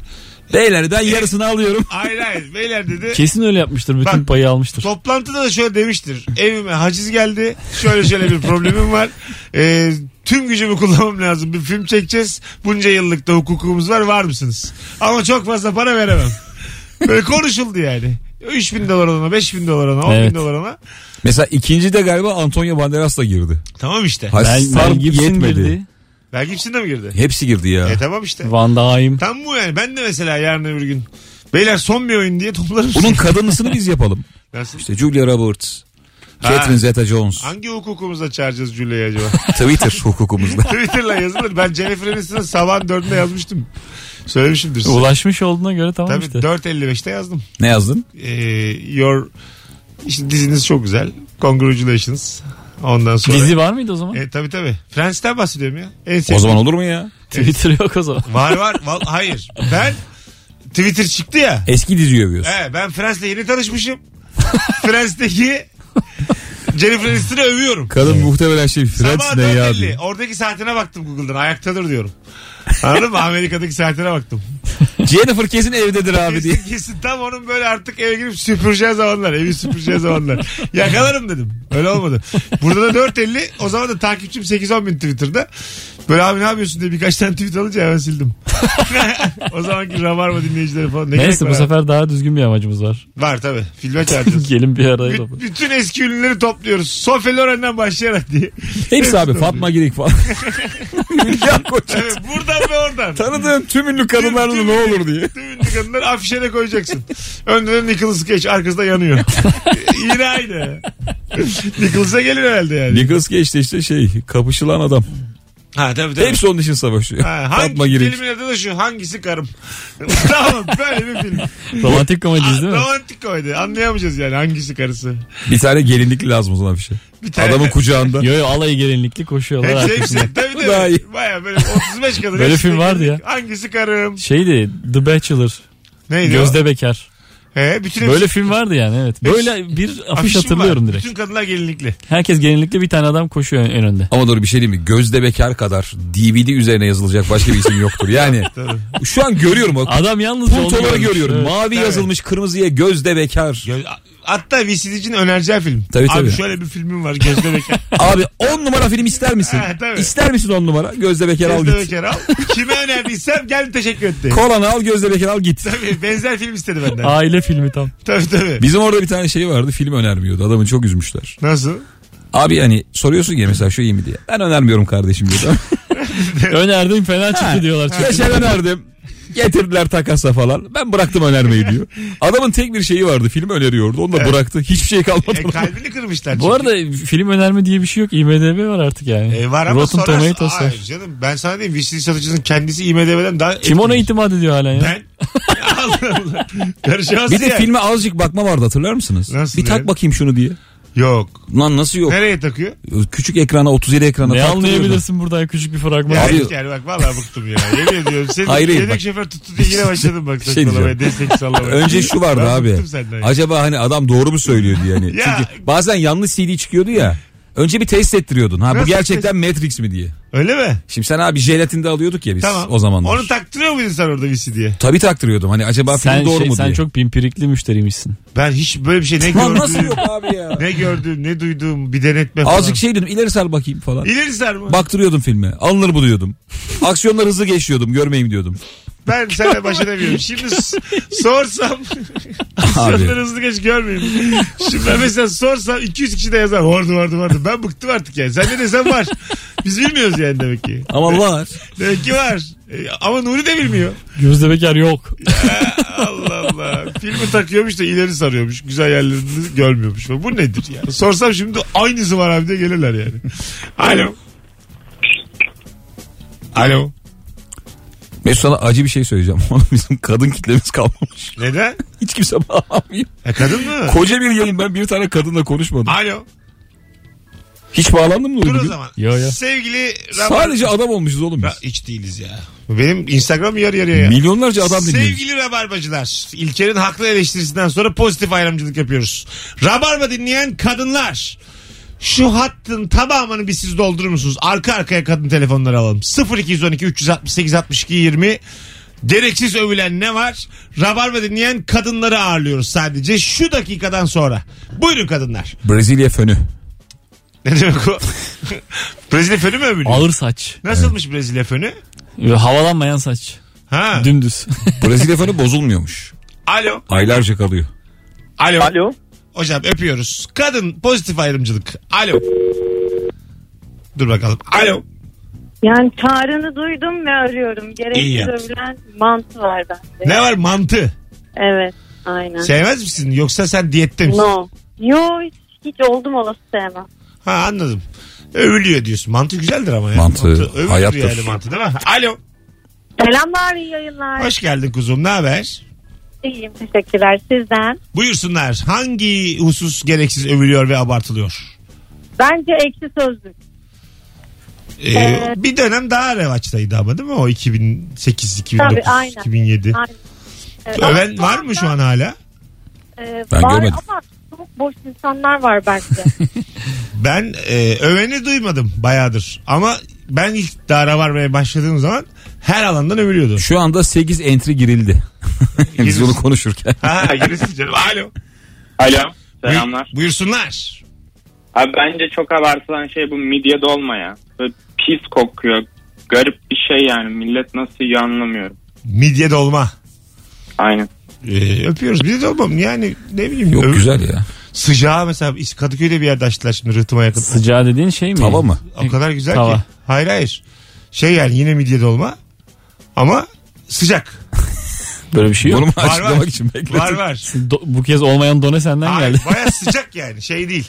S3: Beyler ben yarısını alıyorum.
S2: Hayır hayır. Beyler dedi.
S4: Kesin öyle yapmıştır. Bütün
S2: Bak-
S4: payı almıştır.
S2: Toplantıda da şöyle demiştir. Evime haciz geldi. Şöyle şöyle bir problemim var. Ee, tüm gücümü kullanmam lazım. Bir film çekeceğiz. Bunca yıllıkta hukukumuz var. Var mısınız? Ama çok fazla para veremem. Böyle konuşuldu yani. 3000 dolar ona, 5000 dolar ona, 10
S4: Evet.
S2: bin dolar ona.
S3: Mesela ikinci de galiba Antonio Banderas da girdi.
S2: Tamam işte.
S3: Hayır,
S4: Mel,
S3: sarp
S4: Mel Gibson
S3: yetmedi.
S4: girdi.
S2: Mel Gibson de mi girdi?
S3: Hepsi girdi ya.
S2: E tamam işte.
S4: Van Daim.
S2: Tam bu yani. Ben de mesela yarın öbür gün. Beyler son bir oyun diye toplarım.
S3: Bunun kadınlısını biz yapalım.
S2: Nasıl?
S3: İşte Julia Roberts,
S2: Ha.
S3: Catherine Zeta-Jones,
S2: Hangi hukukumuzla çağıracağız Julia'yı acaba?
S3: Twitter hukukumuzda.
S2: Twitter'la yazılır. Ben Jennifer Aniston'ın sabahın dördünde yazmıştım. Söylemişimdir size.
S4: Ulaşmış olduğuna göre tamam
S2: Tabii
S4: işte.
S2: 4.55'te yazdım.
S3: Ne yazdın?
S2: Ee, your işte diziniz çok güzel. Congratulations. Ondan sonra.
S4: Dizi var mıydı o zaman?
S2: E, tabii tabii. Friends'ten bahsediyorum ya. En sevdiğim.
S3: O zaman olur mu ya?
S4: Twitter yok o zaman.
S2: Var var. Val- hayır. Ben Twitter çıktı ya.
S3: Eski dizi övüyorsun.
S2: He, ben Friends'le yeni tanışmışım. Friends'teki Jennifer Aniston'u övüyorum.
S3: Kadın muhtemelen şey Friends
S2: Sabah
S3: ne ya
S2: 4.50.
S3: diyor.
S2: Oradaki saatine baktım Google'dan. Ayaktadır diyorum. Anladın mı? Amerika'daki saatine baktım.
S3: Jennifer kesin evdedir abi diye.
S2: Kesin kesin tam onun böyle artık eve girip süpüreceği zamanlar. Evi süpüreceği zamanlar. Yakalarım dedim. Öyle olmadı. Burada da 4.50 o zaman da takipçim 8-10 bin Twitter'da. Böyle abi ne yapıyorsun diye birkaç tane tweet alınca hemen sildim. o zamanki Rabarba dinleyicileri falan. Ne gerek
S4: Neyse
S2: var
S4: bu
S2: abi?
S4: sefer daha düzgün bir amacımız var.
S2: Var tabii. Filme çağıracağız.
S4: Gelin bir araya
S2: Bü-
S4: topla.
S2: bütün eski ünlüleri topluyoruz. Sophie Loren'den başlayarak diye.
S3: Hepsi abi Fatma Girik falan. ya koca.
S2: Evet, buradan ve oradan.
S3: Tanıdığın tüm ünlü kadınlarla
S2: Tüm-
S3: ne olur diye.
S2: Tüm ünlü kadınları afişene koyacaksın. Önüne Nicholas Cage arkasında yanıyor. Yine aynı. Nicholas'a gelir herhalde yani.
S3: Nicholas Cage de işte şey kapışılan adam.
S2: Ha tabii tabii.
S3: Hepsi onun için savaşıyor.
S2: Ha, hangi
S3: Fatma Girik.
S2: filmin adı da şu hangisi karım? tamam böyle bir film.
S4: Romantik komedi değil mi?
S2: Romantik komedi. Anlayamayacağız yani hangisi karısı.
S3: Bir tane gelinlikli lazım o zaman bir şey.
S2: Bir tane.
S3: Adamın kucağında.
S4: Yo yo alayı gelinlikli koşuyorlar
S2: Hepsi
S4: arkasında.
S2: hepsi. şey, Tabii
S3: Daha iyi.
S2: tabii. Baya böyle 35 kadın.
S4: Böyle
S2: hepsi
S4: film vardı ya.
S2: Hangisi karım?
S4: Şeydi The Bachelor.
S2: Neydi o? şey-
S4: Gözde Bekar.
S2: He, bütün hepsi-
S4: Böyle film vardı yani evet. Böyle
S2: şey-
S4: bir afiş
S2: Afişim
S4: hatırlıyorum
S2: var.
S4: direkt.
S2: Bütün kadınlar gelinlikli.
S4: Herkes gelinlikli bir tane adam koşuyor en önde.
S3: Ama doğru bir şey diyeyim mi? Gözde Bekar kadar DVD üzerine yazılacak başka bir isim yoktur. Yani
S2: Tabii.
S3: şu an görüyorum o
S4: Adam yalnız
S3: puntoları görüyorum. Mavi
S2: Tabii.
S3: yazılmış kırmızıya Gözde Bekar.
S2: Göz- Hatta VCD'cinin önereceği film.
S3: Tabii,
S2: Abi
S3: tabii.
S2: şöyle bir filmim var Gözde Bekar.
S3: Abi 10 numara film ister misin?
S2: Ha, tabii.
S3: ister misin 10 numara? Gözde Bekar al
S2: Gözde
S3: git.
S2: Bekar al. Kime önerdiysem gel teşekkür etti.
S3: Kolanı al Gözde Bekar al git.
S2: Tabii benzer film istedi benden.
S4: Aile filmi tam.
S2: Tabii tabii.
S3: Bizim orada bir tane şey vardı film önermiyordu. Adamı çok üzmüşler.
S2: Nasıl?
S3: Abi hani soruyorsun ya mesela şu iyi mi diye. Ben önermiyorum kardeşim diyor.
S4: Önerdim fena çıktı diyorlar. çünkü.
S3: Geçen önerdim. Getirdiler takasa falan. Ben bıraktım önermeyi diyor. Adamın tek bir şeyi vardı. Film öneriyordu. Onu da bıraktı. Hiçbir şey kalmadı.
S2: E, kalbini kırmışlar. çünkü.
S4: Bu arada film önerme diye bir şey yok. IMDB var artık yani.
S2: E, var ama
S4: Rotten
S2: sonra...
S4: Tomatoes var.
S2: Hayır canım ben sana diyeyim VCD satıcının kendisi IMDB'den daha...
S4: Kim ona itimat ediyor halen ya?
S2: Ben. Allah Allah. Karışamazsın
S3: Bir de
S2: yani.
S3: filme azıcık bakma vardı hatırlar mısınız?
S2: Nasıl
S3: bir tak
S2: yani?
S3: bakayım şunu diye.
S2: Yok.
S3: Lan nasıl yok?
S2: Nereye takıyor?
S3: Küçük ekrana 37 ekrana
S4: Ne
S3: taktırıyordu.
S4: anlayabilirsin buradan küçük bir fragman?
S2: Ya
S3: Abi-
S2: Abi, yani bak vallahi bıktım ya. Yemin ediyorum. Senin
S3: Hayır, hayır,
S2: yedek
S3: bak.
S2: şoför tuttu diye yine başladım bak.
S3: Şey
S2: Saçmalamaya. Destek sallamaya.
S3: Önce şu vardı
S2: Ben
S3: abi.
S2: bıktım senden ya.
S3: Acaba hani adam doğru mu söylüyor diye. Hani.
S2: Ya.
S3: Çünkü bazen yanlış CD çıkıyordu ya. Önce bir test ettiriyordun. Ha bu
S2: Nasıl
S3: gerçekten Matrix mi diye.
S2: Öyle mi?
S3: Şimdi sen abi jelatinde alıyorduk ya biz
S2: Tamam.
S3: o zamanlar.
S2: Onu taktırıyor muydun sen orada VCD'ye?
S3: Tabii taktırıyordum. Hani acaba
S4: Sen,
S3: film doğru
S4: şey,
S3: mu
S4: sen
S3: diye.
S4: çok pimpirikli müşteriymişsin.
S2: Ben hiç böyle bir şey ne
S3: Lan nasıl
S2: gördüm,
S3: yok abi ya?
S2: ne gördüm, ne duydum, bir denetme falan.
S3: Azıcık şey dedim ileri sar bakayım falan.
S2: İleri ser mi?
S3: Baktırıyordum filme. Alınır bu diyordum. Aksiyonlar hızlı geçiyordum. Görmeyeyim diyordum.
S2: Ben seninle baş edemiyorum. Şimdi s- sorsam
S3: Abi.
S2: Senden hızlı geç görmeyeyim. Şimdi ben mesela sorsam 200 kişi de yazar. Vardı vardı vardı. Ben bıktım artık yani. Sen ne desen var. Biz bilmiyoruz yani demek ki.
S3: Ama var.
S2: Demek ki var. E, ama Nuri de bilmiyor.
S4: Gözde Bekar yok.
S2: Allah Allah. Filmi takıyormuş da ileri sarıyormuş. Güzel yerlerini görmüyormuş. Bu nedir ya? Sorsam şimdi aynısı var abi diye gelirler yani. Alo. Alo.
S3: Mesut sana acı bir şey söyleyeceğim. Bizim kadın kitlemiz kalmamış.
S2: Neden?
S3: Hiç kimse bağlanmıyor.
S2: E, kadın mı?
S3: Koca bir yayın ben bir tane kadınla konuşmadım.
S2: Alo.
S3: Hiç bağlandın mı?
S2: Dur o
S3: bugün?
S2: zaman.
S4: Yo, yo.
S2: Sevgili Rabar-
S3: Sadece adam olmuşuz oğlum
S2: Ya
S3: biz.
S2: hiç değiliz ya. Benim Instagram yarı yarıya ya.
S3: Milyonlarca adam dinliyoruz.
S2: Sevgili Rabarbacılar, İlker'in haklı eleştirisinden sonra pozitif ayrımcılık yapıyoruz. Rabarba dinleyen kadınlar, şu hattın tamamını bir siz doldurur musunuz? Arka arkaya kadın telefonları alalım. 0212 368 62 20 Gereksiz övülen ne var? Rabarba dinleyen kadınları ağırlıyoruz sadece şu dakikadan sonra. Buyurun kadınlar.
S3: Brezilya fönü.
S2: Ne demek o? Brezilya fönü mü övülüyor?
S4: Ağır saç.
S2: Nasılmış Brezilya fönü?
S4: Ve Havalanmayan saç.
S2: Ha.
S4: Dümdüz.
S3: Brezilya fönü bozulmuyormuş.
S2: Alo.
S3: Aylarca kalıyor.
S2: Alo.
S5: Alo.
S2: Hocam öpüyoruz. Kadın pozitif ayrımcılık. Alo. Dur bakalım. Alo.
S8: Yani çağrını duydum ve arıyorum.
S2: İyi
S8: Gerekli
S2: yaptın.
S8: övülen mantı var bende.
S2: Ne var mantı?
S8: Evet aynen.
S2: Sevmez misin? Yoksa sen diyette misin?
S8: No. Yo hiç, hiç oldum olası sevmem.
S2: Ha anladım. Övülüyor diyorsun. Mantı güzeldir ama ya.
S3: Mantı
S2: övülür
S3: hayattır.
S2: yani mantı değil mi? Alo.
S8: Selamlar iyi yayınlar.
S2: Hoş geldin kuzum. Ne haber?
S8: İyiyim teşekkürler sizden.
S2: Buyursunlar. Hangi husus gereksiz övülüyor ve abartılıyor?
S8: Bence ekşi sözlük.
S2: Ee,
S8: Evet.
S2: Bir dönem daha revaçtaydı ama değil mi? O 2008, 2009,
S8: Tabii, aynen.
S2: 2007.
S8: Aynen. Evet, ama
S2: Öven var mı şu an hala?
S8: e,
S3: Ben
S8: var
S3: görmedim.
S8: ama çok boş insanlar var bence.
S2: Ben e, öveni duymadım bayağıdır. Ama ben ilk dara varmaya başladığım zaman her alandan övülüyordu.
S3: Şu anda 8 entry girildi. Biz onu konuşurken.
S2: ha gerisi canım. Alo.
S9: Alo. Selamlar.
S2: Buyur- buyursunlar.
S9: Abi bence çok abartılan şey bu midye dolma ya. Böyle pis kokuyor. Garip bir şey yani. Millet nasıl yiyor anlamıyorum.
S2: Midye dolma.
S9: Aynen.
S2: Ee, öpüyoruz. Bir de dolmam yani ne bileyim.
S3: Yok
S2: öv-
S3: güzel ya.
S2: Sıcağı mesela Kadıköy'de bir yerde açtılar şimdi rıhtıma yakın.
S4: Sıcağı dediğin şey mi?
S3: Tava mı?
S2: O kadar güzel
S4: Tava.
S2: ki. Hayır hayır. Şey yani yine midye dolma ama sıcak.
S4: Böyle bir şey yok.
S3: Bunu mu
S2: Var, var.
S3: açıklamak için bekledim.
S2: Var var.
S4: Do- bu kez olmayan done senden
S2: Hayır,
S4: geldi.
S2: baya sıcak yani şey değil.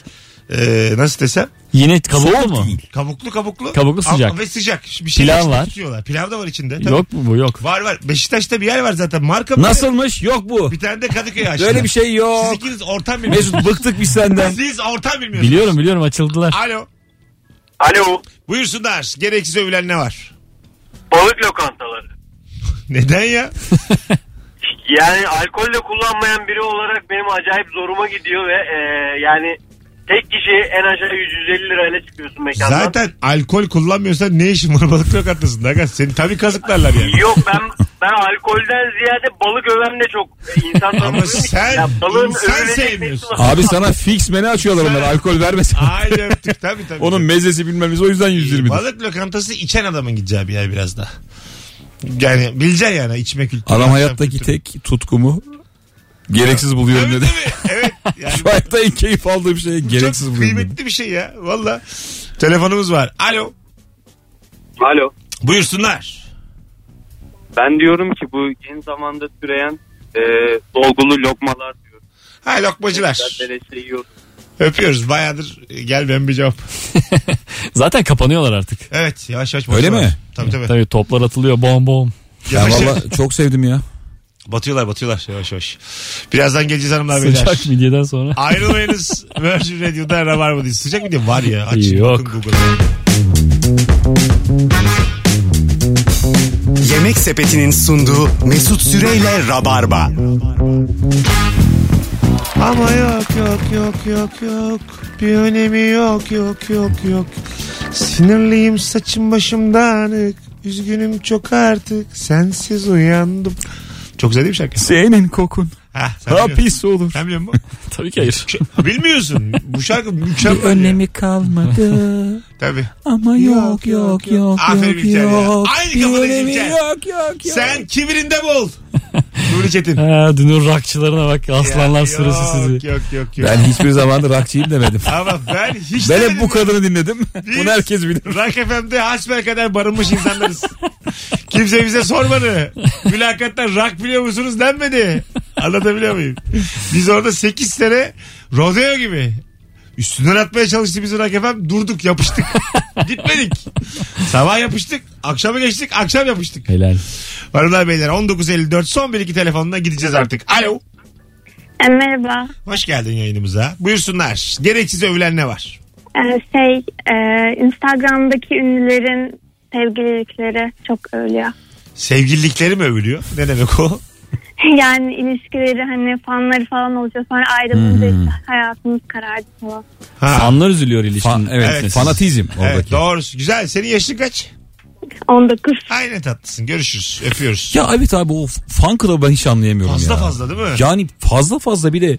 S2: Ee, nasıl desem
S4: Yine kabuklu mu?
S2: kabuklu kabuklu.
S4: Kabuklu sıcak.
S2: Ama- Ve sıcak. Bir şey
S4: Pilav
S2: içinde
S4: var.
S2: tutuyorlar. Pilav da var içinde. tabii.
S4: Yok mu bu yok.
S2: Var var. Beşiktaş'ta bir yer var zaten. Marka mı?
S3: Nasılmış? Yok bu.
S2: Bir tane de Kadıköy açtı.
S3: Böyle bir şey
S2: Siz
S3: yok.
S2: ikiniz ortam bilmiyorsunuz.
S3: Mesut bıktık biz senden.
S2: Siz ortam bilmiyorsunuz.
S4: Biliyorum biliyorum açıldılar.
S2: Alo.
S5: Alo.
S2: Buyursunlar. Gereksiz övülen ne var?
S5: Balık lokantaları.
S2: Neden ya?
S5: Yani alkolle kullanmayan biri olarak benim acayip zoruma gidiyor ve e, yani tek kişi en aşağı 150 lirayla çıkıyorsun mekandan.
S2: Zaten alkol kullanmıyorsan ne işin var balık lokantasında? Aga seni tabii kazıklarlar yani.
S5: Yok ben ben alkolden ziyade balık öven de çok e, insan
S2: Ama
S5: tanıdığım için.
S2: sen
S5: balığın
S2: insan
S5: övülecek
S2: sevmiyorsun.
S5: nesi var?
S3: Abi sana fix menü açıyorlar onlar alkol vermesin.
S2: Aile öptük tabii tabii.
S3: Onun mezesi bilmemiz o yüzden 120 'dir.
S2: Balık lokantası içen adamın gideceği bir yer biraz da. Yani bileceksin yani içme kültürü.
S3: Adam
S2: yaşam
S3: hayattaki
S2: kültürü.
S3: tek tutkumu gereksiz buluyorum
S2: şey Evet
S3: dedi.
S2: tabii. Evet. Yani
S3: Şu hayatta en keyif aldığım şey gereksiz
S2: çok
S3: buluyorum dedi.
S2: kıymetli bir şey ya. Valla. Telefonumuz var. Alo.
S9: Alo.
S2: Buyursunlar.
S9: Ben diyorum ki bu yeni zamanda türeyen e, dolgulu lokmalar diyorum.
S2: Ha lokmacılar.
S9: Beleşe yiyoruz.
S2: Öpüyoruz. Bayağıdır e, gelmeyen bir cevap.
S4: Zaten kapanıyorlar artık.
S2: Evet yavaş yavaş.
S3: Öyle
S2: batıyorlar.
S3: mi?
S2: Tabii tabii.
S4: Tabii toplar atılıyor bom bom.
S3: Ya
S2: Yavaş yavaş.
S3: valla çok sevdim ya.
S2: Batıyorlar batıyorlar yavaş yavaş. Birazdan geleceğiz hanımlar beyler.
S4: Sıcak midyeden sonra.
S2: Ayrılmayınız. Virgin Radio'da var mı diye. Sıcak mı diye var ya. Açın
S4: Yok.
S2: bakın Google'a.
S1: Yemek Sepeti'nin sunduğu Mesut Süreyle Rabarba.
S2: Ama yok yok yok yok yok. Bir önemi yok yok yok yok. Sinirliyim saçım başım dağınık. Üzgünüm çok artık. Sensiz uyandım. Çok güzel değil mi şarkı?
S3: Senin kokun.
S2: Ha, sen
S3: Ha
S2: biliyorsun.
S3: pis olur.
S2: Sen biliyor musun?
S4: Tabii ki hayır.
S2: Şu- Bilmiyorsun. Bu şarkı mükemmel. ya.
S3: kalmadı
S2: Tabii.
S3: ama
S2: yok, yok, yok, Aferin yok, İlker ya. yok. Aynı Bir kafadayız önemi İlker.
S3: yok yok
S2: Sen kibirinde bol. Nuri Çetin.
S4: Ha, dünür rakçılarına bak aslanlar
S2: Ya,
S4: sürüsü
S2: Yok
S4: sizi.
S2: yok yok. yok.
S3: Ben hiçbir zaman rockçıyım demedim.
S2: Ama ben hiç
S3: Ben
S2: demedim
S3: hep bu
S2: ya.
S3: kadını dinledim.
S2: Biz-
S3: Bunu herkes bilir.
S2: Rock FM'de hasbel kadar barınmış insanlarız. Kimse bize sormadı. Mülakatta rock biliyor musunuz denmedi. Anlatabiliyor muyum? Biz orada 8 sene rodeo gibi. Üstünden atmaya çalıştı bizi Rock FM. Durduk yapıştık. Gitmedik. Sabah yapıştık. Akşama geçtik. Akşam yapıştık.
S4: Helal.
S2: Hanımlar beyler 19.54 son bir iki telefonuna gideceğiz artık. Alo.
S8: E, merhaba.
S2: Hoş geldin yayınımıza. Buyursunlar. Gereksiz övülen ne var?
S8: E, şey e, Instagram'daki ünlülerin sevgililikleri çok övülüyor.
S2: Sevgililikleri mi övülüyor? Ne demek o?
S8: Yani ilişkileri hani fanları falan olacak sonra ayrılınca işte hayatımız karardı falan.
S2: Ha.
S4: Fanlar üzülüyor ilişkin.
S3: Fan- evet,
S2: Evet.
S3: fanatizm
S2: Evet
S3: oradaki.
S2: doğrusu. Güzel. Senin yaşın kaç?
S8: 19.
S2: Aynen tatlısın. Görüşürüz. Öpüyoruz.
S3: ya evet abi o fan club'ı ben hiç anlayamıyorum
S2: fazla
S3: ya.
S2: fazla değil mi?
S3: Yani fazla fazla bir de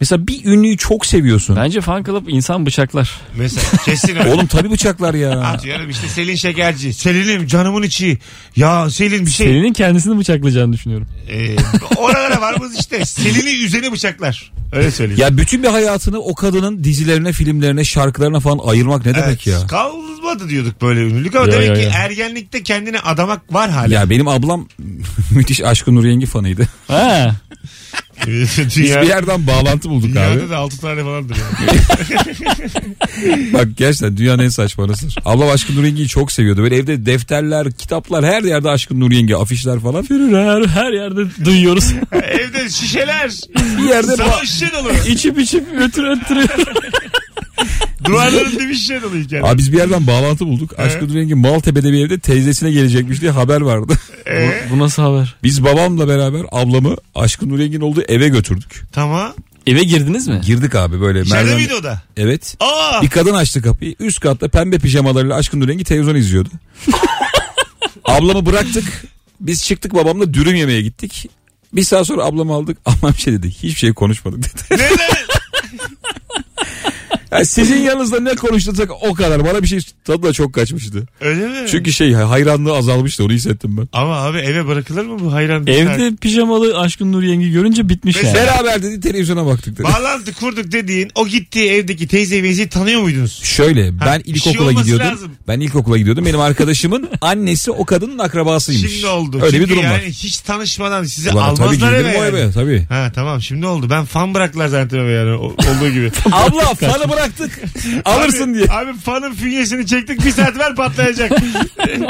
S3: mesela bir ünlüyü çok seviyorsun.
S4: Bence fan club insan bıçaklar.
S2: Mesela kesin öyle.
S3: Oğlum tabii bıçaklar ya.
S2: Atıyorum işte Selin Şekerci. Selin'im canımın içi. Ya Selin bir şey.
S4: Selin'in kendisini bıçaklayacağını düşünüyorum.
S2: Ee, oralara varmaz işte. Selin'i üzerine bıçaklar. Öyle söyleyeyim.
S3: Ya bütün bir hayatını o kadının dizilerine, filmlerine, şarkılarına falan ayırmak ne demek
S2: Evet.
S3: ya?
S2: Kalma olmadı diyorduk böyle ünlülük ama
S4: Ya,
S2: demek
S4: ya,
S2: ki
S4: ya.
S2: ergenlikte kendini adamak var hala.
S3: Ya benim ablam müthiş Aşkın Nur Yengi fanıydı.
S4: Ha.
S3: Biz
S2: Dünya,
S3: bir yerden bağlantı bulduk abi.
S2: dünyada da 6 tane falandır. yani.
S3: Bak gerçekten dünyanın en saçma anasıdır. Ablam Aşkın Nur Yengi'yi çok seviyordu. Böyle evde defterler, kitaplar her yerde Aşkın Nur Yengi afişler falan.
S4: Her, her yerde duyuyoruz.
S2: Evde şişeler.
S3: Bir yerde
S2: Sana
S3: ba-
S2: şişe dolu.
S4: içip içip ötür ötür.
S2: Duvarların dibi şişe dolu hikaye.
S3: Abi biz bir yerden bağlantı bulduk. Aşkın Nur Yengi Maltepe'de bir evde teyzesine gelecekmiş diye haber vardı.
S4: bu, bu nasıl haber?
S3: Biz babamla beraber ablamı Aşkın Nur Yengi'nin olduğu eve götürdük.
S2: Tamam.
S4: Eve girdiniz mi?
S3: Girdik abi böyle
S2: İçeride
S3: merdiven.
S2: miydi o da?
S3: Evet.
S2: Aa!
S3: Bir kadın açtı kapıyı. Üst katta pembe pijamalarıyla Aşkın Durengi televizyon izliyordu. Ablamı bıraktık. Biz çıktık babamla dürüm yemeye gittik. Bir saat sonra ablamı aldık. Ablam şey dedi. Hiçbir şey konuşmadık dedi.
S2: Neden?
S3: Yani sizin yanınızda ne konuştuysak o kadar. Bana bir şey tadı da çok kaçmıştı.
S2: Öyle mi?
S3: Çünkü şey hayranlığı azalmıştı onu hissettim ben.
S2: Ama abi eve bırakılır mı bu hayran?
S4: Evde pijamalı Aşkın Nur Yengi görünce bitmiş yani.
S3: Beraber dedi televizyona baktık dedi.
S2: Bağlantı kurduk dediğin o gittiği evdeki teyze meyzeyi tanıyor muydunuz?
S3: Şöyle ben
S2: Ha, bir şey
S3: ilkokula
S2: olması
S3: gidiyordum.
S2: lazım.
S3: Ben ilkokula gidiyordum. Benim arkadaşımın annesi o kadının akrabasıymış.
S2: Şimdi oldu.
S3: Öyle
S2: Çünkü
S3: bir durum
S2: yani
S3: var.
S2: hiç tanışmadan sizi
S3: Ulan tabii
S2: almazlar
S3: girdim
S2: eve.
S3: o
S2: yani.
S3: eve tabii.
S2: Ha tamam şimdi oldu. Ben fan bıraktılar zannettim eve yani o- olduğu gibi.
S3: Abla fanı bıraktık. Alırsın
S2: Abi-
S3: diye.
S2: Abi fanın fünyesini çektik bir saat ver patlayacak.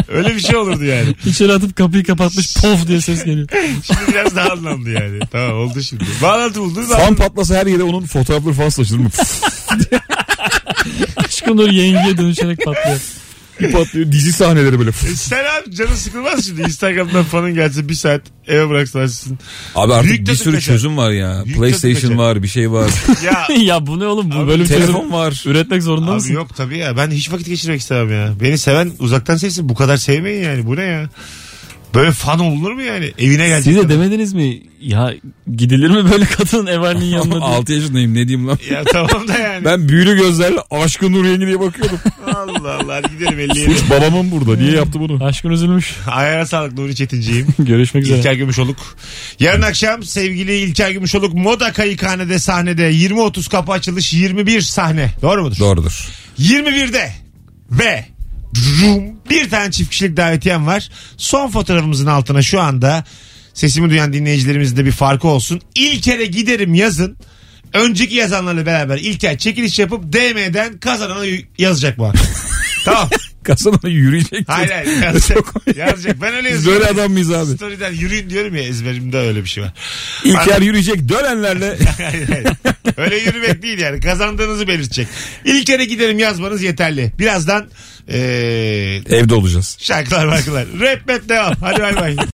S2: Öyle bir şey olurdu yani.
S4: İçeri atıp kapıyı kapatmış pof diye ses geliyor.
S2: Şimdi biraz daha anlamlı yani. Tamam oldu şimdi. Bağlantı buldunuz.
S3: Fan patlasa her yere onun fotoğrafları falan saçılır mı? Pf,
S4: Aşkın Nur Yengi'ye dönüşerek patlıyor.
S3: bir patlıyor. Dizi sahneleri böyle. Pf.
S2: Sen abi canın sıkılmaz şimdi. Instagram'dan fanın gelse bir saat eve bıraksalar sizin.
S3: Abi artık
S2: Büyük
S3: bir
S2: tadı
S3: sürü
S2: kaçar.
S3: çözüm var ya.
S2: Büyük tadı kaçar.
S3: PlayStation var, bir şey var.
S2: Ya
S4: ya bu ne oğlum bu bölüm
S3: telefon
S4: telefon
S3: var.
S4: üretmek zorunda
S2: abi
S4: mısın?
S2: yok tabii ya. Ben hiç vakit geçirmek istemem ya. Beni seven uzaktan sevsin. Bu kadar sevmeyin yani. Bu ne ya? Böyle fan olunur mu yani? Evine gelecek.
S4: Siz de
S2: adam.
S4: demediniz mi? Ya gidilir mi böyle kadının ev halinin yanına? diye?
S3: 6 yaşındayım ne diyeyim lan.
S2: Ya tamam da yani.
S3: Ben büyülü gözlerle aşkın Nur Yengi diye bakıyordum.
S2: Allah Allah gidelim 57.
S3: Suç babamın burada. Niye yaptı bunu?
S4: Aşkın üzülmüş.
S2: Ayağına sağlık Nuri Çetinciğim.
S4: Görüşmek üzere.
S2: İlker Gümüşoluk. Yarın akşam sevgili İlker Gümüşoluk Moda Kayıkhanede sahnede 20.30 kapı açılış 21 sahne. Doğru mudur?
S3: Doğrudur.
S2: 21'de ve vroom, bir tane çift kişilik davetiyem var. Son fotoğrafımızın altına şu anda sesimi duyan dinleyicilerimizin de bir farkı olsun. İlk kere giderim yazın. Önceki yazanlarla beraber İlker çekiliş yapıp DM'den kazananı yazacak bu akşam. tamam.
S3: Kasana yürüyecek.
S2: Hayır hayır yazacak.
S3: Çok-
S2: yazacak. Ben öyle
S3: Biz
S2: yazıyorum.
S3: böyle adam mıyız abi?
S2: Story'den yürüyün diyorum ya ezberimde öyle bir şey var.
S3: İlker yürüyecek dönenlerle.
S2: Hayır, hayır. Öyle yürümek değil yani. Kazandığınızı belirtecek. İlk kere giderim yazmanız yeterli. Birazdan eee
S3: Evde olacağız.
S2: şarkılar markalar. Rap rap devam. Hadi bay bay.